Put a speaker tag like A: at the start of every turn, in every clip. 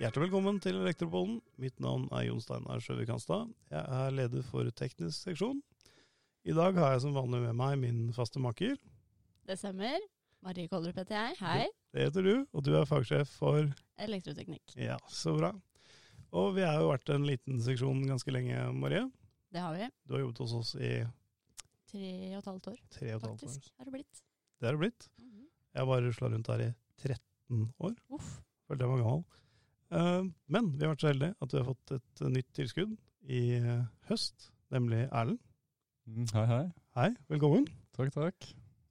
A: Hjertelig velkommen til Elektrobollen. Mitt navn er Jon Steinar Sjøvik Hanstad. Jeg er leder for teknisk seksjon. I dag har jeg som vanlig med meg min faste maker.
B: Det stemmer. Marie Kollerup heter jeg. Hei.
A: Det heter du, og du er fagsjef for
B: Elektroteknikk.
A: Ja, så bra. Og vi har jo vært en liten seksjon ganske lenge, Marie.
B: Det har vi.
A: Du har jobbet hos oss i
B: Tre og et halvt år,
A: tre og et halvt år. Mhm.
B: faktisk, har det blitt.
A: Det har det blitt. Jeg har bare rusla rundt her i 13 år.
B: Uff.
A: Følte jeg var gammel. Eh, Men vi har vært så heldige at vi har fått et eh, nytt tilskudd i eh, høst, nemlig Erlend.
C: Mm, Hei, hei.
A: Hei, velkommen.
C: Takk, takk.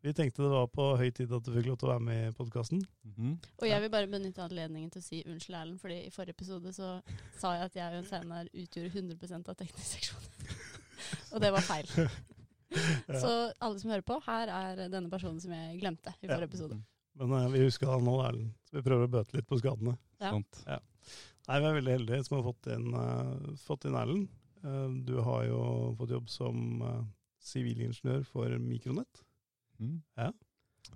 A: Vi tenkte det var på høy tid at du fikk lov til å være med i podkasten.
C: Mhm.
B: Og jeg vil bare benytte anledningen til å si unnskyld, Erlend, fordi i forrige episode så sa jeg at jeg og Jon Steinar utgjorde 100 av teknisk seksjon. og det var feil. Så alle som hører på, her er denne personen som jeg glemte i
A: Ja.
B: forrige episode.
A: Men eh, vi husker han nå, Erlend. Så vi prøver å bøte litt på skadene.
B: Ja.
C: Sant.
A: Nei, vi er veldig heldige som har fått inn, eh, fått inn Erlend. Eh, du har jo fått jobb som eh, sivilingeniør for Mikronett.
C: Mhm.
A: Ja.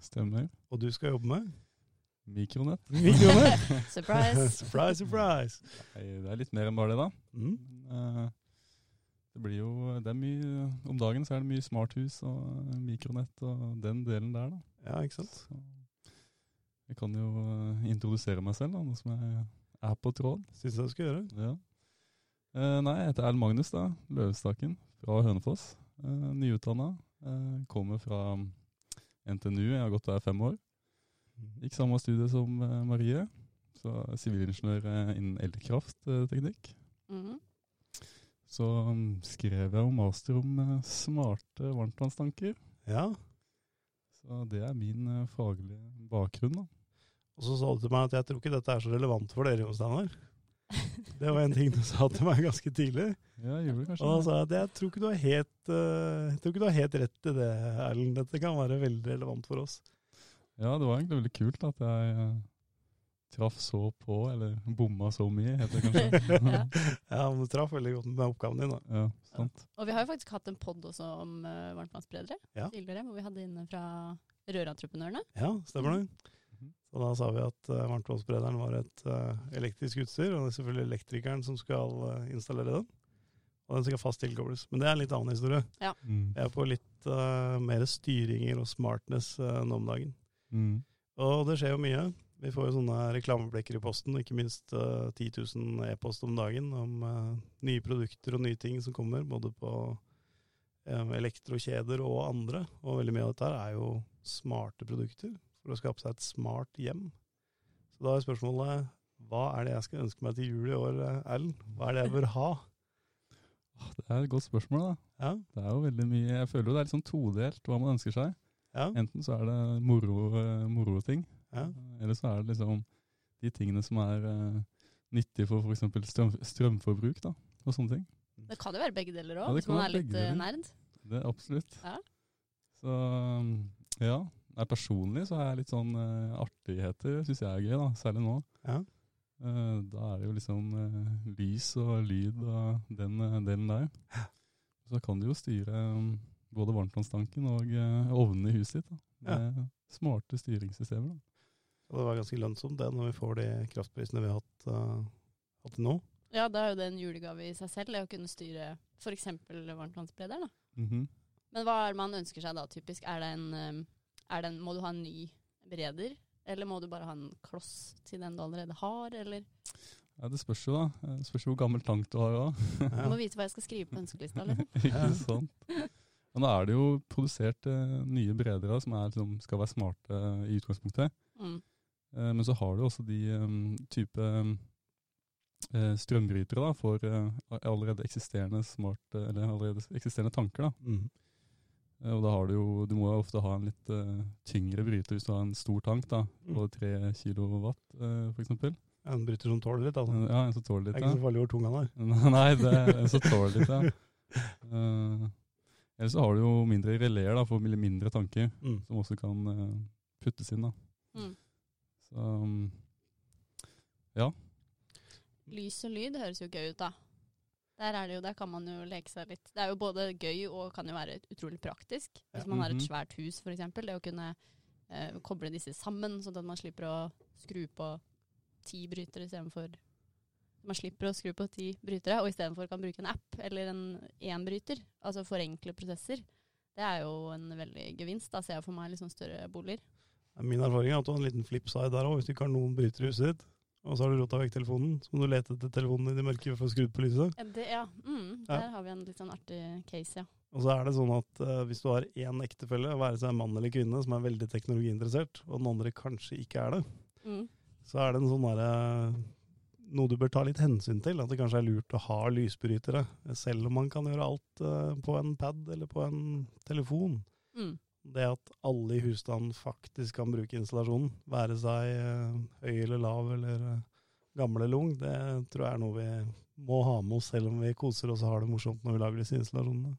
C: Stemmer.
A: Og du skal jobbe med
C: Mikronett.
A: Mikronett!
B: Surprise!
A: surprise, surprise!
C: Nei, det er litt mer enn bare det, da.
A: Mm.
C: Men, eh, det blir jo det er mye, Om dagen så er det mye smarthus og eh, mikronett og den delen der, da.
A: Ja, ikke sant?
C: Så jeg kan jo eh, introdusere meg selv, da, nå som jeg er på tråd.
A: Syns jeg du skal gjøre.
C: Ja. Eh, nei, jeg heter Erl Magnus, da. Løvestaken fra Hønefoss. Uh, Nyutdanna. Eh, kommer fra NTNU, jeg har gått der fem år. Gikk samme studie som eh, Marie, så er sivilingeniør eh, innen elkraftteknikk.
B: Mhm.
C: Så mm, skrev jeg om master om eh, smarte varmtvannstanker.
A: Ja.
C: Så det er min eh, faglige bakgrunn, da.
A: Og så sa du til meg at jeg tror ikke dette er så relevant for dere, Jon Steinar. Det var en ting du sa til meg ganske tidlig.
C: Ja, jeg gjorde kanskje
A: Og da
C: det.
A: sa jeg at jeg tror ikke du har helt, eh, jeg tror ikke du har helt rett i det, Erlend. Dette kan være veldig relevant for oss.
C: Ja, det var egentlig veldig kult at jeg eh, traff så på, eller bomma så mye, heter det kanskje.
B: Ja.
A: Ja, men Du traff veldig godt med oppgaven din. da.
C: ja, sant.
B: Og vi har jo faktisk hatt en pod også om uh, varmtvannsberedere
A: Ja.
B: tidligere, hvor vi hadde inne fra Rørentreprenørene.
A: Ja, stemmer det.
C: Mhm.
A: Så da sa vi at uh, varmtvannsberederen var et eh, elektrisk utstyr, og det er selvfølgelig elektrikeren som skal eh, installere den. Og den skal fast tilkobles. Men det er en litt annen historie.
C: Mm.
A: Vi er på litt eh, mer styringer og smartness eh, nå om dagen.
C: Mm.
A: Og det skjer jo mye. Vi får jo sånne reklameblikker i posten, og ikke minst eh, 10 000 e-post om dagen om eh, nye produkter og nye ting som kommer, både på eh, elektrokjeder og andre. Og veldig mye av dette her er jo smarte produkter for å skape seg et smart hjem. Så da er spørsmålet hva er det jeg skal ønske meg til jul i år, eh, Erlend? Hva er det jeg bør ha?
C: Det er et godt spørsmål, da.
A: Ja,
C: Det er jo veldig mye Jeg føler jo det er litt sånn todelt hva man ønsker seg.
A: ja,
C: Enten så er det moro, eh, moroting,
A: ja.
C: eller så er det liksom de tingene som er eh, nyttige for f.eks. Strøm, strømforbruk da, og sånne ting.
B: Det kan jo være begge deler
C: Ja,
B: òg,
C: det
B: hvis
C: kan
B: man
C: være
B: er litt
C: begge
B: eh,
C: deler.
B: nerd.
C: Det er Absolutt.
B: Ja.
C: Så mm, ja. Nei, personlig så har jeg litt sånn eh, artigheter, syns jeg er gøy, da, særlig nå.
A: ja.
C: Eh, da er det jo liksom eh, lys og lyd og den eh, delen der. Så kan du jo styre mm, både varmtvannstanken og eh, ovnen i huset ditt da, med smarte styringssystemer. da.
A: Og det var ganske lønnsomt det, når vi får de kraftprisene vi har hatt, eh, hatt til nå.
B: Ja, da er jo det en julegave i seg selv, det å kunne styre f.eks. varmtvannsberederen. da.
C: Mhm.
B: Men hva er det man ønsker seg da, typisk? Er det en, eh, er det en, må du ha en ny bereder? Eller må du bare ha en kloss til den du allerede har? Eller
C: Ja, det spørs jo, da. Det spørs jo hvor gammel tank du har òg.
B: du
A: Ja.
B: må vite hva jeg skal skrive på ønskelista. Liksom.
C: Ikke sant? Men da er det jo produsert eh, nye bredere som er, liksom, skal være smarte i utgangspunktet.
B: Mm.
C: Eh, men så har du også de em, type em, eh, strømbrytere da, for eh, allerede eksisterende smarte, eller allerede eksisterende tanker. Da.
A: Mhm.
C: Eh, og da har du jo, du må jo ofte ha en litt eh, tyngre bryter hvis du har en stor tank, da,
A: Mm.
C: på 3 kilowatt eh, for eksempel. Eh,
A: En bryter som tåler litt, altså.
C: Ja, en som tåler
A: Det
C: litt.
A: er
C: ja.
A: ikke så farlig hvor tung han er.
C: Nei, det er så tåler litt, ja. Eh, ellers så har du jo mindre releer da, for mil- mindre tanker,
A: Mm.
C: som også kan eh, puttes inn. da.
B: Mm.
C: Så, um,
B: Lys og lyd høres jo gøy ut, da. Der, er det jo, der kan man jo leke seg litt. Det er jo både gøy og kan jo være utrolig praktisk. Hvis
A: Ja.
B: man har et
C: Mhm.
B: svært hus, f.eks. Det å kunne eh, koble disse sammen, sånn at man slipper å skru på ti brytere istedenfor Man slipper å skru på ti brytere, og istedenfor kan bruke en app eller en én bryter. Altså forenkle prosesser. Det er jo en veldig gevinst. Da ser jeg for meg litt sånn større boliger.
A: Min erfaring er at du har en liten flipside der òg, hvis du ikke har noen brytere i huset ditt. Og så har du rota vekk telefonen, så må du lete etter telefonen din i mørket for å skru på lyset.
B: Det, ja, mm,
A: Ja.
B: der har vi en litt sånn artig case, ja.
A: Og så er det sånn at eh, hvis du har én ektefelle, være seg en mann eller kvinne, som er veldig teknologiinteressert, og den andre kanskje ikke er det,
B: Mm.
A: så er det en sånn derre noe du bør ta litt hensyn til, at det kanskje er lurt å ha lysbrytere, selv om man kan gjøre alt eh, på en pad eller på en telefon.
B: Mm.
A: Det at alle i husstanden faktisk kan bruke installasjonen, være seg eh, høy eller lav eller eh, gammel eller ung, det tror jeg er noe vi må ha med oss selv om vi koser oss og har det morsomt når vi lager disse installasjonene.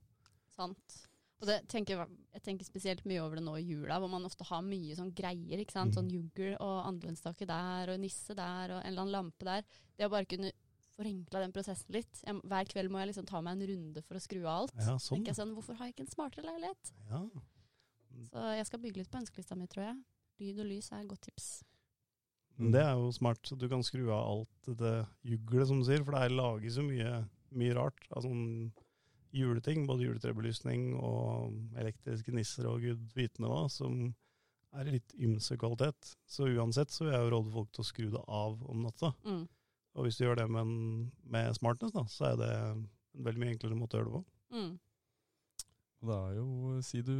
B: Sant. Og det tenker, jeg tenker spesielt mye over det nå i jula, hvor man ofte har mye sånn greier. ikke sant?
A: Mm.
B: Sånn juggel og andelstake der, og nisse der, og en eller annen lampe der. Det å bare kunne forenkla den prosessen litt. Jeg, må- hver kveld må jeg liksom ta meg en runde for å skru av alt.
A: Ja, sånn.
B: tenker jeg sånn, Hvorfor har jeg ikke en smartere leilighet?
A: Ja.
B: Så jeg skal bygge litt på ønskelista mi, tror jeg. Lyd og lys er et godt tips.
A: Men Det er jo smart, så du kan skru av alt det juglet som du sier, for det er laget så mye, mye rart av sånn juleting, både juletrebelysning og elektriske nisser og gud vitende hva, som er i litt ymse kvalitet. Så uansett så vil jeg jo råde folk til å skru det av om natta.
B: Mm.
A: Og hvis du gjør det med, en, med smartness, da, så er det en veldig mye enklere måte å gjøre det på.
B: Mm.
C: Og det er jo eh, Si du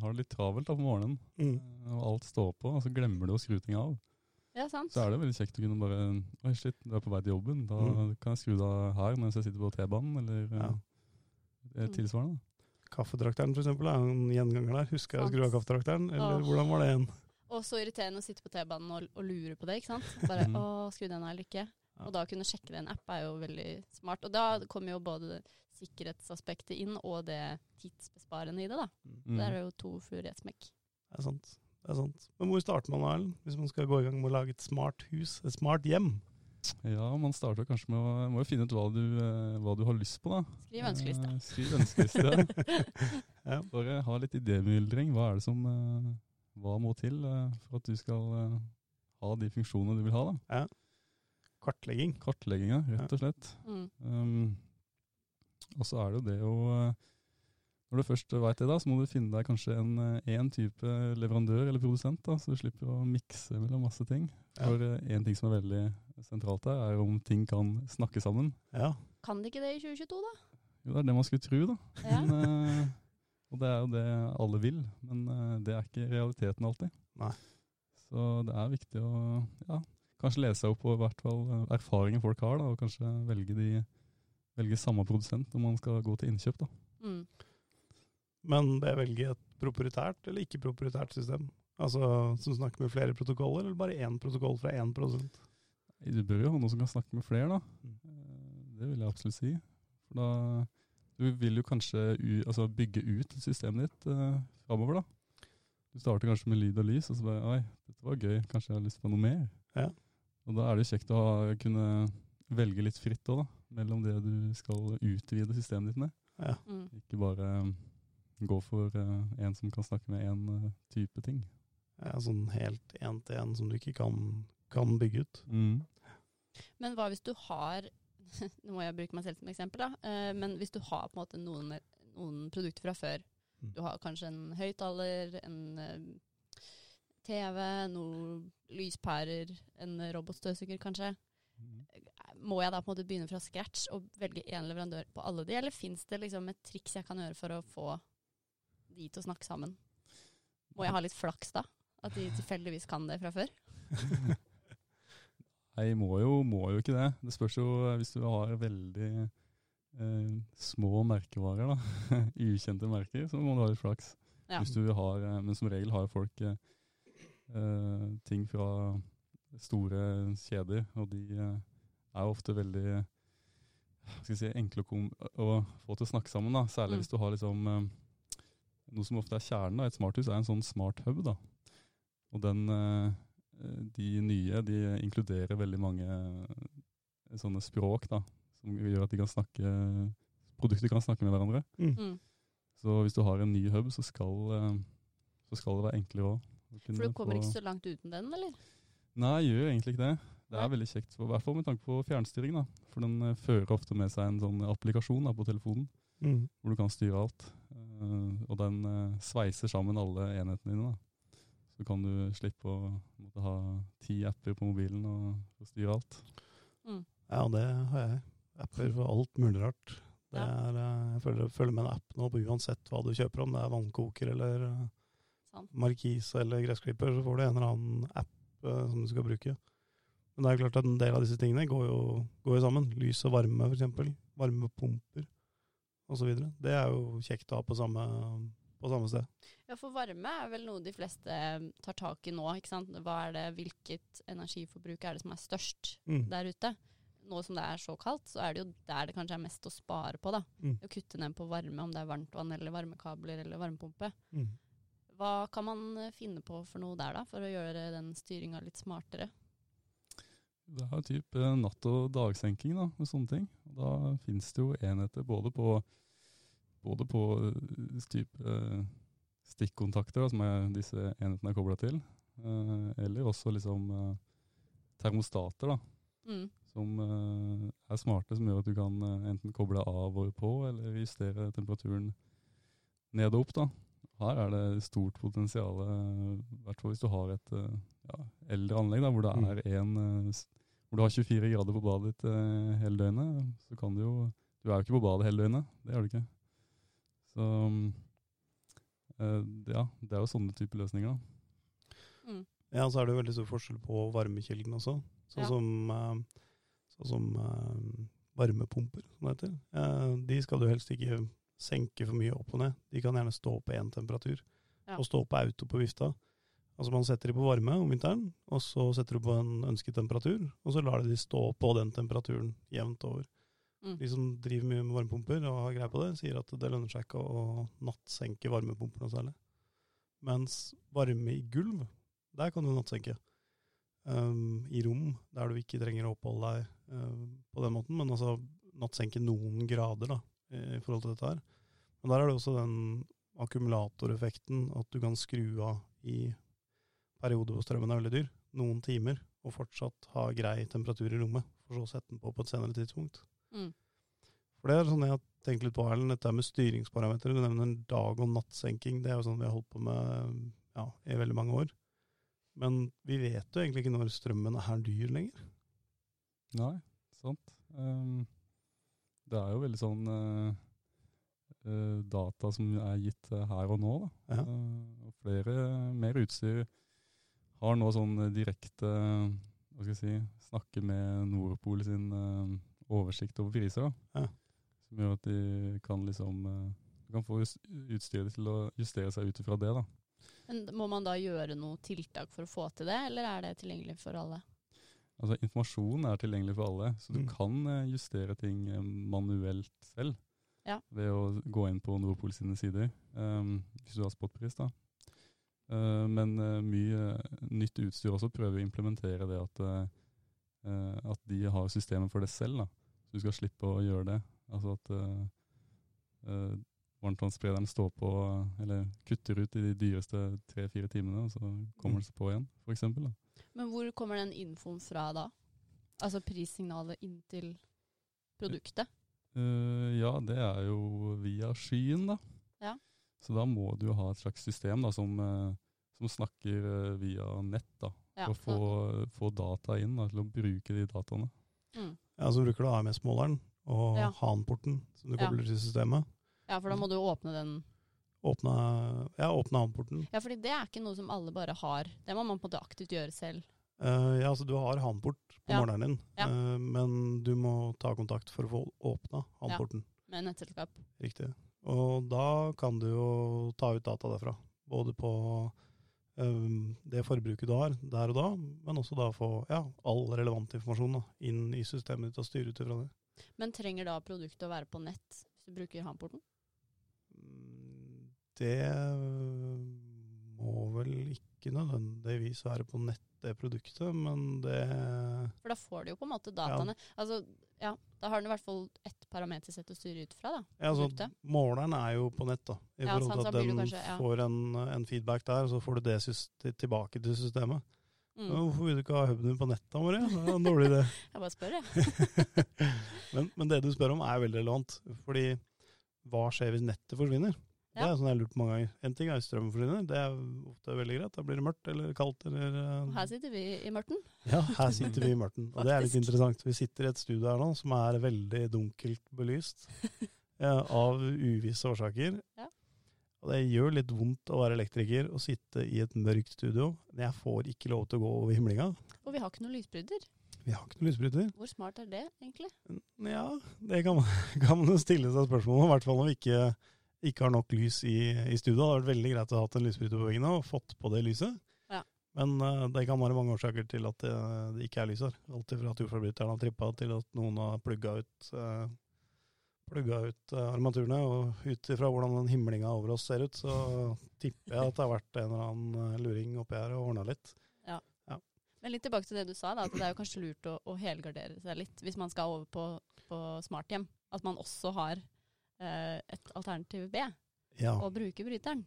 C: har det litt travelt da på morgenen,
A: Mm.
C: eh, og alt står på, og så glemmer du å skru ting av.
B: Ja, sant.
C: Så er det veldig kjekt å kunne bare Oi, shit, du er på vei til jobben. Da
A: Mm.
C: kan jeg skru det av her mens jeg sitter på T-banen, eller
A: Ja.
C: eh, tilsvarende.
A: Kaffetrakteren for eksempel, er en gjenganger der. Husker jeg å skru av
B: Sant.
A: kaffetrakteren, eller
B: Åh.
A: hvordan var det igjen?
B: Og så irriterende å sitte på T-banen og, og lure på det, ikke sant. Bare
C: Mhm.
B: å, skru den av eller ikke.
A: Ja.
B: Og da kunne sjekke det i en app er jo veldig smart. Og da kommer jo både det sikkerhetsaspektet inn, og det tidsbesparende i det, da.
C: Mm.
B: Der er det jo to fluer i ett smekk.
A: Det er sant. Det er sant. Men hvor starter man da, Erlend? Hvis man skal gå i gang med å lage et smart hus, et smart hjem?
C: Ja, man starter kanskje med å må jo finne ut hva du, eh, hva du har lyst på, da.
B: Skriv ønskeliste.
C: Eh, Skriv ønskeliste.
A: Ja.
C: Bare ha litt idémyldring. Hva er det som eh, Hva må til eh, for at du skal eh, ha de funksjonene du vil ha, da?
A: Kartlegging.
C: Kartlegginga, rett og slett.
B: Mm.
C: Um, og så er det jo det å eh, Når du først veit det, da, så må du finne deg kanskje en, eh, en type leverandør eller produsent, da, så du slipper å mikse mellom masse ting.
A: Ja.
C: For eh, en ting som er veldig sentralt her, er om ting kan snakke sammen.
A: Ja.
B: Kan de ikke det i 2022, da?
C: Jo, det er det man skulle tro, da.
B: Ja.
C: Men, eh, og det er jo det alle vil, men eh, det er ikke realiteten alltid.
A: Nei.
C: Så det er viktig å ja, kanskje lese seg opp på i hvert fall eh, erfaringer folk har, da, og kanskje velge, de, velge samme produsent når man skal gå til innkjøp. Da.
B: Mm.
A: Men bør jeg velge et proprietært eller ikke-proprietært system? Altså som snakker med flere protokoller, eller bare én protokoll fra én produsent?
C: Du bør jo ha noen som kan snakke med flere, da. Eh, Det vil jeg absolutt si. For da du vil jo kanskje u, altså bygge ut systemet ditt eh, framover, da. Du starter kanskje med lyd og lys, og så bare Oi, dette var gøy, kanskje jeg har lyst på noe mer.
A: Ja.
C: Og da er det jo kjekt å ha, kunne velge litt fritt òg, da. Mellom det du skal utvide systemet ditt med.
A: Ja.
B: Mm.
C: Ikke bare eh, gå for eh, en som kan snakke med én eh, type ting.
A: ja sånn helt én-til-én som du ikke kan, kan bygge ut.
B: Men hva hvis du har Nå må jeg bruke meg selv som eksempel, da. Eh, men hvis du har på en måte noen, noen produkter fra før.
A: Mm.
B: Du har kanskje en høyttaler, en eh, TV, noen lyspærer, en robotstøvsuger kanskje.
C: Mm.
B: Må jeg da på en måte begynne fra scratch og velge én leverandør på alle de, eller fins det liksom et triks jeg kan gjøre for å få de til å snakke sammen? Må jeg ha litt flaks da? At de tilfeldigvis kan det fra før?
C: Nei, må jo, må jo ikke det. Det spørs jo eh, hvis du har veldig eh, små merkevarer, da. Ukjente merker, så må du ha litt flaks.
B: Ja.
C: Hvis du har, eh, men som regel har folk eh, eh, ting fra store kjeder, og de eh, er jo ofte veldig eh, hva skal jeg si, enkle å, kom å få til å snakke sammen. da. Særlig
B: Mm.
C: hvis du har liksom eh, noe som ofte er kjernen av et smarthus, er en sånn smart hub. da. Og den, eh, de nye de inkluderer veldig mange eh, sånne språk da, som gjør at de kan snakke, produkter kan snakke med hverandre.
B: Mm.
C: Så hvis du har en ny hub, så skal, eh, så skal det være enklere òg.
B: For du kommer ikke så langt uten den, eller?
C: Nei, jeg gjør egentlig ikke det. Det er veldig kjekt, for- i hvert fall med tanke på fjernstyring. da. For den eh, fører ofte med seg en sånn applikasjon da, på telefonen,
A: Mm.
C: hvor du kan styre alt. Eh, og den eh, sveiser sammen alle enhetene dine. da. Så kan du slippe å måtte ha ti apper på mobilen og, og styre alt.
A: Ja, det har jeg. Apper for alt mulig rart. Det
B: Ja.
A: er, eh, jeg føler, følger med en app nå på uansett hva du kjøper, om det er vannkoker eller eh,
B: Sant.
A: markis eller gressklipper, så får du en eller annen app eh, som du skal bruke. Men det er jo klart at en del av disse tingene går jo, går jo sammen. Lys og varme, f.eks. Varmepumper osv. Det er jo kjekt å ha på samme, på samme sted.
B: Ja, for varme er vel noe de fleste um, tar tak i nå, ikke sant. Hva er det, hvilket energiforbruk er det som er størst
A: Mm.
B: der ute? Nå som det er så kaldt, så er det jo der det kanskje er mest å spare på, da.
A: Mm.
B: Å kutte ned på varme, om det er varmtvann eller varmekabler eller varmepumpe.
A: Mm.
B: Hva kan man eh, finne på for noe der, da? For å gjøre den styringa litt smartere?
C: Det er jo typ eh, natt- og dagsenking da, og sånne ting. Og da finnes det jo enheter både på, både på eh, typ eh, stikkontakter da, som er, disse enhetene er kobla til, eh, eller også liksom eh, termostater da,
B: Mm.
C: som eh, er smarte, som gjør at du kan eh, enten koble av og på, eller justere temperaturen ned og opp. da. Her er det stort potensial, eh, i hvert fall hvis du har et eh, ja, eldre anlegg da, hvor det er en, eh, s- hvor du har 24 grader på badet ditt eh, hele døgnet. så kan Du jo, du er jo ikke på badet hele døgnet, det er du ikke. Så mm, eh, ja, det er jo sånne type løsninger. da.
B: Mm.
A: Ja, så er det jo veldig stor forskjell på varmekilden også. Sånn
B: Ja.
A: som, eh, sånn som eh, varmepumper, som det heter. Eh, De skal du helst ikke senke for mye opp og ned. De kan gjerne stå på én temperatur,
B: Ja.
A: og stå på auto på vifta. Altså Man setter de på varme om vinteren, og så setter du på en ønsket temperatur, og så lar du de stå på den temperaturen jevnt over.
B: Mm.
A: De som driver mye med varmepumper og har greie på det, sier at det lønner seg ikke å nattsenke varmepumper noe særlig. Mens varme i gulv, der kan du nattsenke. Um, I rom, der du ikke trenger å oppholde deg um, på den måten, men altså nattsenke noen grader da, i forhold til dette her. Men der er det også den akkumulatoreffekten at du kan skru av i perioder hvor strømmen er veldig dyr, noen timer, og fortsatt ha grei temperatur i rommet, for så å sette den på på et senere tidspunkt.
B: Mm.
A: For det er sånn jeg har tenkt litt på, Erlend, dette med styringsparametere. Du nevner dag- og nattsenking. Det er jo sånn vi har holdt på med ja, i veldig mange år. Men vi vet jo egentlig ikke når strømmen er dyr lenger.
C: Nei, sant. Ehm, det er jo veldig sånn eh, eh, data som er gitt eh, her og nå. Da.
A: Ja.
C: Eh, og flere, mer utstyr har nå sånn eh, direkte hva skal jeg si, snakke med Nordpol sin eh, oversikt over priser. Da.
A: Ja.
C: Som gjør at de kan liksom eh, du kan få jus- utstyret til å justere seg ut ifra det. da.
B: Men må man da gjøre noe tiltak for å få til det, eller er det tilgjengelig for alle?
C: Altså Informasjon er tilgjengelig for alle, så du
A: Mm.
C: kan eh, justere ting eh, manuelt selv.
B: Ja.
C: Ved å gå inn på Nordpol sine sider, ehm, hvis du har spotpris. da. Eh, men eh, mye eh, nytt utstyr også prøver å implementere det at, eh, eh, at de har systemet for det selv. da. Så du skal slippe å gjøre det. Altså at eh, eh, varmtvannssprederen står på, eh, eller kutter ut i de dyreste tre-fire timene, og så
A: Mm.
C: kommer den seg på igjen, f.eks.
B: Men hvor kommer den infoen fra da? Altså prissignalet inn til produktet?
C: Eh, ja, det er jo via skyen, da.
B: Ja.
C: Så da må du jo ha et slags system da, som, eh, som snakker eh, via nett, da.
B: Ja,
C: for å få, få data inn, da, til å bruke de dataene.
B: Mm.
A: Ja, Så bruker du AMS-måleren og
B: Ja.
A: HAN-porten som du
B: Ja.
A: kobler til systemet.
B: ja, for da må du jo åpne den.
A: Åpne, ja, åpne HAN-porten.
B: Ja, fordi det er ikke noe som alle bare har. Det må man på en måte aktivt gjøre selv.
A: Eh, ja, altså du har HAN-port på
B: Ja.
A: morgenen din,
B: Ja.
A: eh, men du må ta kontakt for å få åpna HAN-porten.
B: Med nettselskap.
A: Riktig. Og da kan du jo ta ut data derfra. Både på øhm, det forbruket du har der og da, men også da få ja, all relevant informasjon da, inn i systemet ditt og styre ut ifra det.
B: Men trenger da produktet å være på nett hvis du bruker Hanporten?
A: Mm, Det øh, må vel ikke nødvendigvis være på nett, det produktet, men det
B: For da får du jo på en måte dataene. Altså, ja, da har den i hvert fall ett parametersett å styre ut fra, da.
A: ja, altså,
B: Produktet?
A: Måleren er jo på nett, da. I
B: Ja,
A: forhold
B: sant,
A: til
B: så
A: at
B: blir det
A: den
B: kanskje- ja.
A: får en, en feedback der, så får du det sys- tilbake til systemet.
B: Mm.
A: Men
C: Oh.
A: Hvorfor vil du ikke ha huben din på nettet, Marie? Det er en dårlig idé.
B: Jeg bare spør, jeg.
A: men, men det du spør om er veldig relevant. Fordi hva skjer hvis nettet forsvinner? Det
B: Ja.
A: er sånn jeg har lurt på mange ganger. En ting er hvis strømmen forsvinner, det er ofte veldig greit. Da blir det mørkt eller kaldt eller eh,
B: Og her sitter vi i mørten.
A: Ja, her sitter vi i mørten. Og det er litt
B: Faktisk.
A: interessant. Vi sitter i et studio her nå som er veldig dunkelt belyst eh, av uvisse årsaker.
B: Ja.
A: Og det gjør litt vondt å være elektriker og sitte i et mørkt studio. Jeg får ikke lov til å gå over himlinga.
B: Og vi har ikke noen lysbryter.
A: Vi har ikke noen lysbryter.
B: Hvor smart er det, egentlig?
A: Ja, det kan man, kan man jo stille seg spørsmål om, i hvert fall når vi ikke, ikke har nok lys i, i studio. Det hadde vært veldig greit å ha hatt en lysbryter på veggene og fått på det lyset.
B: Ja.
A: Men eh, det kan være mange årsaker til at det, det ikke er lys her. Alt fra at jordforbryteren har trippa, til at noen har plugga ut, eh, plugga ut eh, armaturene. Og ut ifra hvordan den himlinga over oss ser ut, så tipper jeg at det har vært en eller annen eh, luring oppi her og ordna litt.
B: Men litt tilbake til det du sa, da, at det er jo kanskje lurt å, å helgardere seg litt hvis man skal over på, på smarthjem. At man også har eh, et alternativ B,
A: Ja.
B: og bruker bryteren.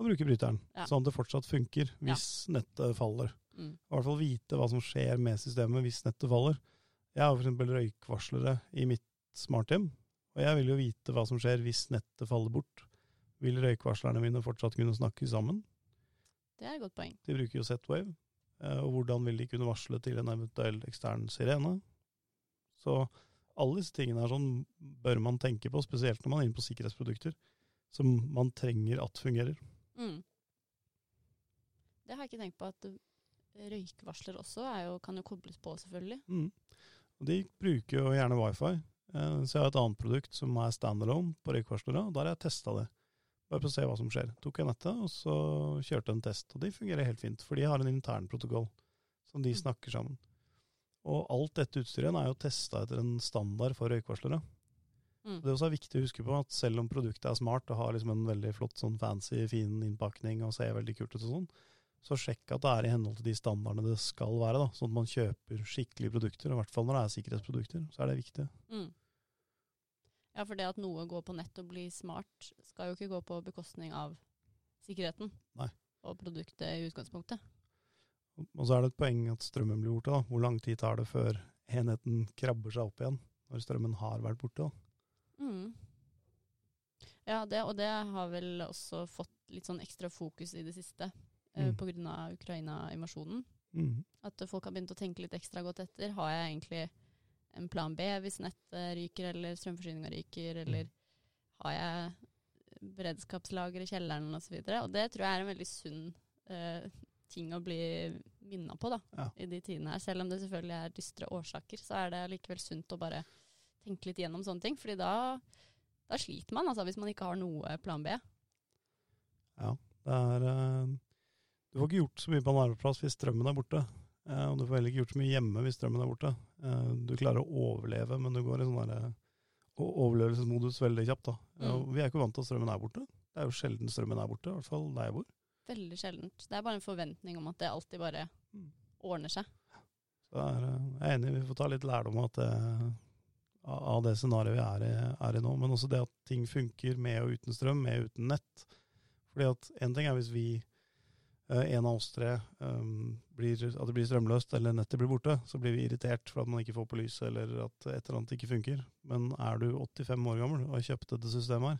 A: Og bruke bryteren,
B: Ja.
A: sånn at det fortsatt funker
B: Ja.
A: hvis nettet faller.
B: Mm.
A: i hvert fall vite hva som skjer med systemet hvis nettet faller. Jeg har f.eks. røykvarslere i mitt smarthjem, og jeg vil jo vite hva som skjer hvis nettet faller bort. Vil røykvarslerne mine fortsatt kunne snakke sammen?
B: Det er et godt poeng.
A: De bruker jo Z-Wave. eh, Og hvordan vil de kunne varsle til en eventuell ekstern sirene? Så alle disse tingene her sånn bør man tenke på, spesielt når man er inne på sikkerhetsprodukter, som man trenger at fungerer.
B: Mm. Det har jeg ikke tenkt på at eh, røykvarsler også er jo, kan jo kobles på, selvfølgelig.
A: Mm. Og de bruker jo gjerne wifi. Eh, Så jeg har et annet produkt som er standalone på røykvarslere. og Der har jeg testa det. Bare for å se hva som skjer. Tok jeg nettet, og så kjørte jeg en test. Og de fungerer helt fint, for de har en intern protokoll som de
B: Mm.
A: snakker sammen. Og alt dette utstyret er jo testa etter en standard for røykvarslere.
B: Mm.
A: Det er også viktig å huske på at selv om produktet er smart og har liksom en veldig flott, sånn fancy, fin innpakning og ser veldig kult ut og sånn, så sjekk at det er i henhold til de standardene det skal være, da, sånn at man kjøper skikkelige produkter. og I hvert fall når det er sikkerhetsprodukter, så er det viktig.
B: Mm. Ja, for det at noe går på nett og blir smart, skal jo ikke gå på bekostning av sikkerheten.
A: Nei.
B: Og produktet i utgangspunktet.
A: Og så er det et poeng at strømmen blir borte. da. Hvor lang tid tar det før enheten krabber seg opp igjen, når strømmen har vært borte? da?
B: Mm. Ja, det, og det har vel også fått litt sånn ekstra fokus i det siste eh,
A: Mm.
B: på grunn av Ukraina-invasjonen. At folk har begynt å tenke litt ekstra godt etter. Har jeg egentlig en plan B hvis nettet ryker, eller strømforsyninga
A: Mm.
B: ryker, eller har jeg beredskapslager i kjelleren osv. Og det tror jeg er en veldig sunn eh, ting å bli minna på da,
A: Ja.
B: i de tidene her. Selv om det selvfølgelig er dystre årsaker, så er det likevel sunt å bare tenke litt gjennom sånne ting. fordi da, da sliter man, altså, hvis man ikke har noe plan B.
A: Ja, det er eh, Du får ikke gjort så mye på en arbeidsplass hvis strømmen er borte. eh, Og du får heller ikke gjort så mye hjemme hvis strømmen er borte. Eh, Du klarer å overleve, men du går i sånn derre o- overlevelsesmodus veldig kjapt, da. Eh,
B: Mm.
A: og Vi er ikke vant til at strømmen er borte. Det er jo sjelden strømmen er borte, i hvert fall der jeg bor.
B: Veldig sjeldent. Det er bare en forventning om at det alltid bare
A: Mm.
B: ordner seg.
A: Så det er, eh, jeg er enig, vi får ta litt lærdom av at det, av av det scenarioet vi er i, er i nå. Men også det at ting funker med og uten strøm, med og uten nett. Fordi at en ting er hvis vi, eh, en av oss tre, eh, blir, at det blir strømløst eller nettet blir borte, så blir vi irritert for at man ikke får på lyset eller at et eller annet ikke funker. Men er du 85 år gammel og har kjøpt dette systemet her,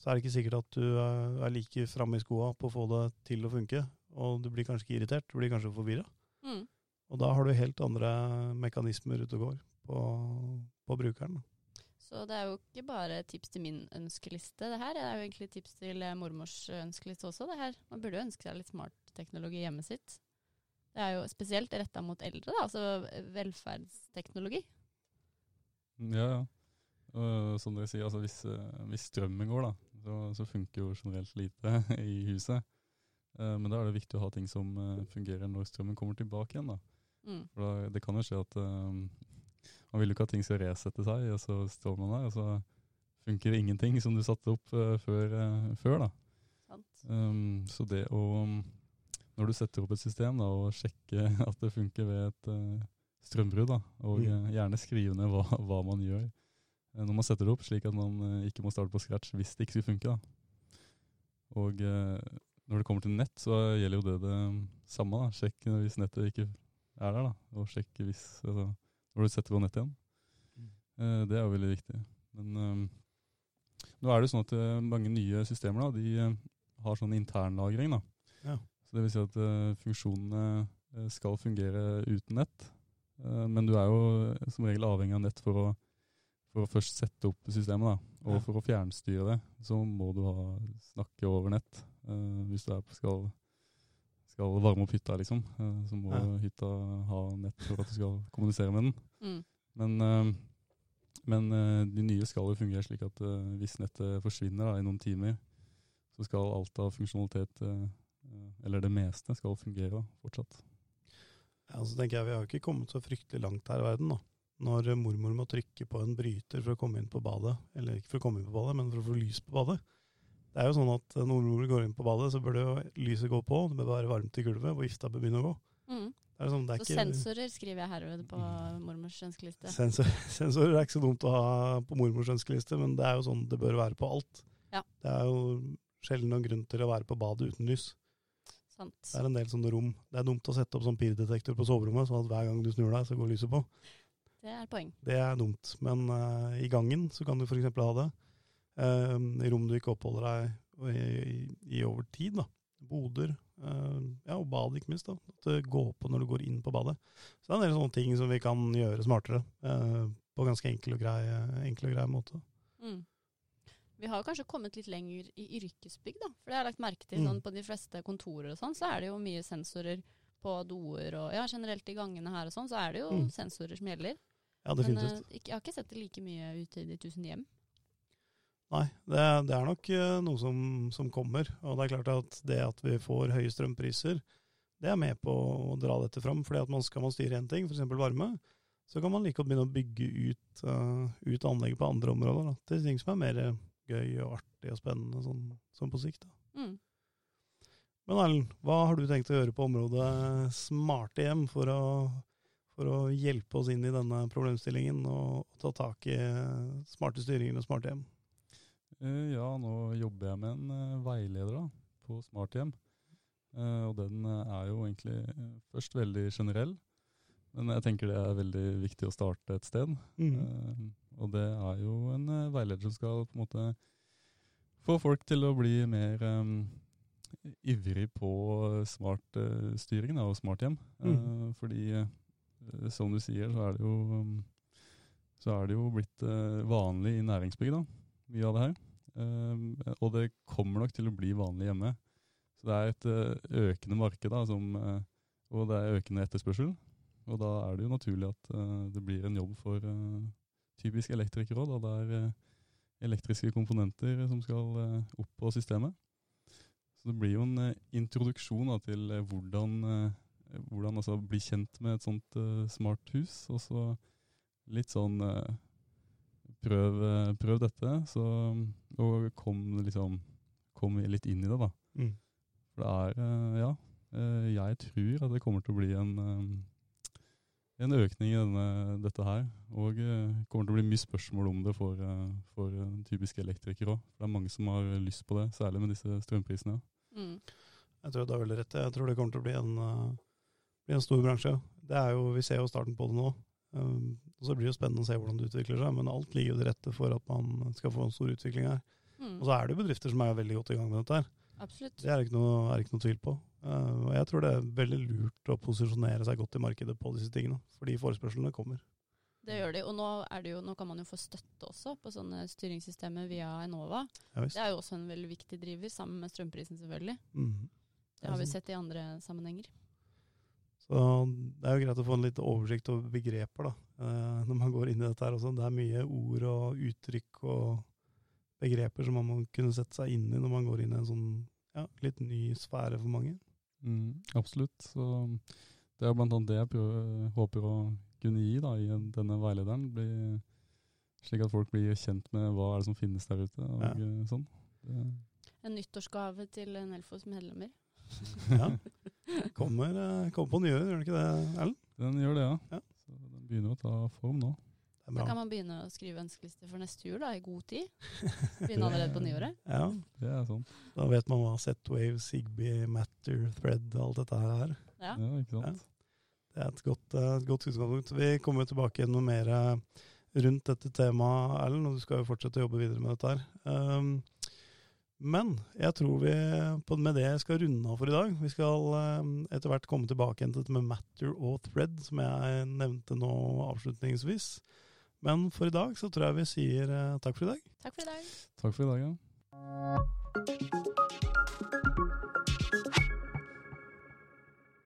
A: så er det ikke sikkert at du eh, er like framme i skoa på å få det til å funke. Og du blir kanskje ikke irritert, du blir kanskje forvirra.
B: Mm.
A: Og da har du helt andre mekanismer ute og går på, på brukeren. da.
B: Så det er jo ikke bare tips til min ønskeliste, det her. Det er jo egentlig tips til eh, mormors ønskeliste også, det her. Man burde jo ønske seg litt smart teknologi i hjemmet sitt. Det er jo spesielt retta mot eldre, da, altså velferdsteknologi.
C: Mm, Ja, ja. Og som dere sier, altså hvis, eh, hvis strømmen går, da, så, så funker jo generelt lite i huset. Eh, Men da er det viktig å ha ting som eh, fungerer når strømmen kommer tilbake igjen. da.
B: Mm.
C: For da, Det kan jo skje at eh, man vil jo ikke at ting skal resette seg, og så står man der, og så funker ingenting som du satte opp eh, før, eh, før. da.
B: Sant?
C: Um, så det å um, Når du setter opp et system da, og sjekke at det funker ved et eh, strømbrudd, da, og
A: Mm.
C: eh, gjerne skrive ned hva, hva man gjør eh, når man setter det opp, slik at man eh, ikke må starte på scratch hvis det ikke skulle funke. Da. Og eh, Når det kommer til nett, så gjelder jo det det samme. da. Sjekk hvis nettet ikke er der, da. og sjekk hvis altså, Når du setter på nettet igjen.
A: Mm.
C: Eh, Det er jo veldig viktig. Men eh, nå er det jo sånn at eh, mange nye systemer da, de eh, har sånn internlagring. da.
A: Ja.
C: Så det vil si at eh, funksjonene eh, skal fungere uten nett. Eh, Men du er jo som regel avhengig av nett for å, for å først sette opp systemet. da. Og
A: Ja.
C: for å fjernstyre det, så må du ha, snakke over nett. Eh, Hvis du er på skal, skal varme opp hytta, liksom, eh, så må
A: Ja.
C: hytta ha nett for at du skal kommunisere med den.
B: Mm.
C: Men, eh, men eh, de nye skal jo fungere slik at eh, hvis nettet forsvinner da, i noen timer, så skal alt av funksjonalitet, eh, eh, eller det meste, skal fungere da, fortsatt.
A: Ja, så tenker jeg, Vi har jo ikke kommet så fryktelig langt her i verden. da. Når eh, mormor må trykke på en bryter for å komme inn på badet, eller ikke for å komme inn på badet, men for å få lys på badet. Det er jo sånn at eh, når mormor går inn på badet, så bør det jo lyset gå på, det bør være varmt i gulvet, og vifta bør begynne å gå.
B: Mm.
A: Det er sånn, det er
B: Så
A: ikke, Mm.
B: sensorer skriver jeg herved på mormors ønskeliste.
A: Sensor, sensorer er ikke så dumt å ha på mormors ønskeliste, men det er jo sånn det bør være på alt.
B: Ja.
A: Det er jo sjelden noen grunn til å være på badet uten lys.
B: Sant.
A: Det er en del sånne rom. Det er dumt å sette opp sånn pirdetektor på soverommet, sånn at hver gang du snur deg, så går lyset på.
B: Det er poeng.
A: Det er dumt, men eh, i gangen så kan du f.eks. ha det. eh, I rom du ikke oppholder deg i, i, i over tid. da. Boder. eh, ja, og badet, ikke minst. da. At eh, det går på når du går inn på badet. Så det er en del sånne ting som vi kan gjøre smartere. eh, på ganske enkel og grei, enkel og grei måte.
B: Mm. Vi har kanskje kommet litt lenger i yrkesbygg, da. For det har jeg lagt merke til
A: Mm.
B: sånn, på de fleste kontorer og sånn, så er det jo mye sensorer på doer og ja, generelt i gangene her og sånn, så er det jo
A: Mm.
B: sensorer som gjelder.
A: Ja,
B: Men
A: definitivt.
B: eh, ikke, jeg har ikke sett det like mye ute i de tusen hjem.
A: Nei, det, det er nok eh, noe som, som kommer. Og det er klart at det at vi får høye strømpriser, det er med på å dra dette fram. fordi at man skal man styre én ting, f.eks. varme, så kan man like godt begynne å bygge ut, eh, ut anlegget på andre områder. Da, til ting som er mer eh, gøy og artig og spennende sånn, sånn på sikt. Da.
B: Mm.
A: Men Erlend, hva har du tenkt å gjøre på området smarte hjem for å, for å hjelpe oss inn i denne problemstillingen og ta tak i eh, smarte styringer og smarte hjem?
C: Eh, Ja, nå jobber jeg med en eh, veileder da, på smarthjem. Eh, Og den eh, er jo egentlig eh, først veldig generell, men jeg tenker det er veldig viktig å starte et sted.
A: Mm.
C: Eh, og det er jo en eh, veileder som skal på en måte få folk til å bli mer eh, ivrig på eh, smart eh, styring da, og smart hjem. Eh,
A: Mhm.
C: fordi eh, som du sier, så er det jo, mm, så er det jo blitt eh, vanlig i næringsbygg, da, mye av det her. Eh, og det kommer nok til å bli vanlig hjemme. Så det er et eh, økende marked, da, som, eh, og det er økende etterspørsel. Og da er det jo naturlig at eh, det blir en jobb for eh, typisk elektrikere òg. Det er eh, elektriske komponenter som skal eh, opp på systemet. Så det blir jo en eh, introduksjon da, til eh, hvordan, eh, hvordan altså, bli kjent med et sånt eh, smart hus. Og så litt sånn eh, prøv, eh, prøv dette, så, og kom, liksom, kom litt inn i det, da.
A: Mm.
C: For det er, eh, ja, eh, jeg tror at det kommer til å bli en, eh, en økning i denne, dette her. Og eh, kommer til å bli mye spørsmål om det for, eh, for eh, typiske elektrikere òg. Det er mange som har lyst på det, særlig med disse strømprisene.
B: Mm.
A: Jeg tror du har veldig rett. Jeg tror det kommer til å bli en, eh, bli en stor bransje. Det er jo, vi ser jo starten på det nå. Um, og så blir det jo spennende å se hvordan det utvikler seg, men alt ligger jo til rette for at man skal få en stor utvikling her.
B: Mm.
A: Og så er det jo bedrifter som er veldig godt i gang med dette her.
B: Absolutt.
A: Det er det ikke noe, er det ikke noe tvil på. Eh, og jeg tror det er veldig lurt å posisjonere seg godt i markedet på disse tingene, fordi forespørslene kommer.
B: Det gjør de. Og nå, er det jo, nå kan man jo få støtte også på sånne styringssystemer via Enova.
A: Ja, visst.
B: Det er jo også en veldig viktig driver, sammen med strømprisen selvfølgelig.
A: Mhm.
B: Det har vi
A: Altså,
B: sett i andre sammenhenger.
A: Så det er jo greit å få en litt oversikt over begreper da, eh, når man går inn i dette her også. Det er mye ord og uttrykk og begreper som man må kunne sette seg inn i når man går inn i en sånn ja, litt ny sfære for mange.
C: Mm, absolutt. Så det er blant annet det jeg prøver, håper å kunne gi da, i denne veilederen. Bli, slik at folk blir kjent med hva er det som finnes der ute. og
A: Ja.
C: eh, sånn. Det,
B: En nyttårsgave til Nelfos medlemmer.
A: Ja. Kommer, eh, kommer på nyåret, gjør det ikke det, Erlend?
C: Den gjør det, ja.
A: Ja.
C: Så den begynner å ta form nå.
A: Det Det er
B: Da
A: bra.
B: kan man begynne å skrive ønskelister for neste tur da, i god tid. Begynne allerede på nyåret.
A: Ja,
C: Det er sånn.
A: da vet man hva Z-Wave, Zigbee, Matter, Thread, alt dette her er.
B: Ja.
C: Ja, ikke sant?
A: Det er et godt, eh, et godt utgangspunkt. Vi kommer jo tilbake igjen noe mer eh, rundt dette temaet, Erlend, og du skal jo fortsette å jobbe videre med dette her. Ehm, men jeg tror vi på, med det skal runde av for i dag. Vi skal eh, etter hvert komme tilbake igjen til dette med matter og thread, som jeg nevnte nå avslutningsvis. Men for i dag så tror jeg vi sier eh, takk for i dag.
B: Takk for i dag.
C: Takk for i dag, ja.